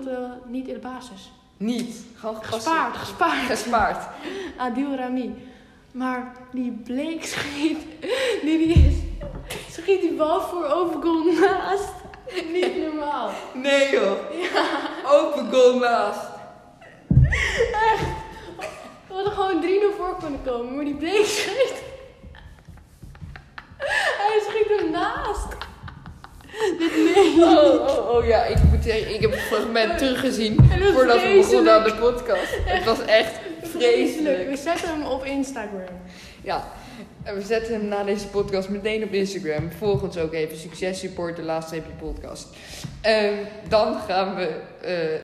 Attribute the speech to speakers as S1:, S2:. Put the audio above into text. S1: speelde eh, niet in de basis.
S2: Niet. Gewoon gepasseerd.
S1: Gespaard, gespaard.
S2: Gespaard.
S1: Adil Rami. Maar die Blake schiet, die, die schiet die bal voor open goal naast. Niet normaal.
S2: Nee joh. Open goal naast.
S1: We hadden gewoon 3-0 voor kunnen komen, maar die Blake schiet. Hij schiet hem naast. Dit nee.
S2: Oh, oh, oh ja, ik moet zeggen, ik heb het fragment teruggezien
S1: En dat is
S2: voordat we begonnen aan
S1: vreselijk.
S2: de podcast. Het was echt vreselijk.
S1: We zetten hem op Instagram.
S2: Ja, en we zetten hem na deze podcast meteen op Instagram. Volg ons ook even. Succes support de laatste heb je podcast. Ehm, dan gaan we eh,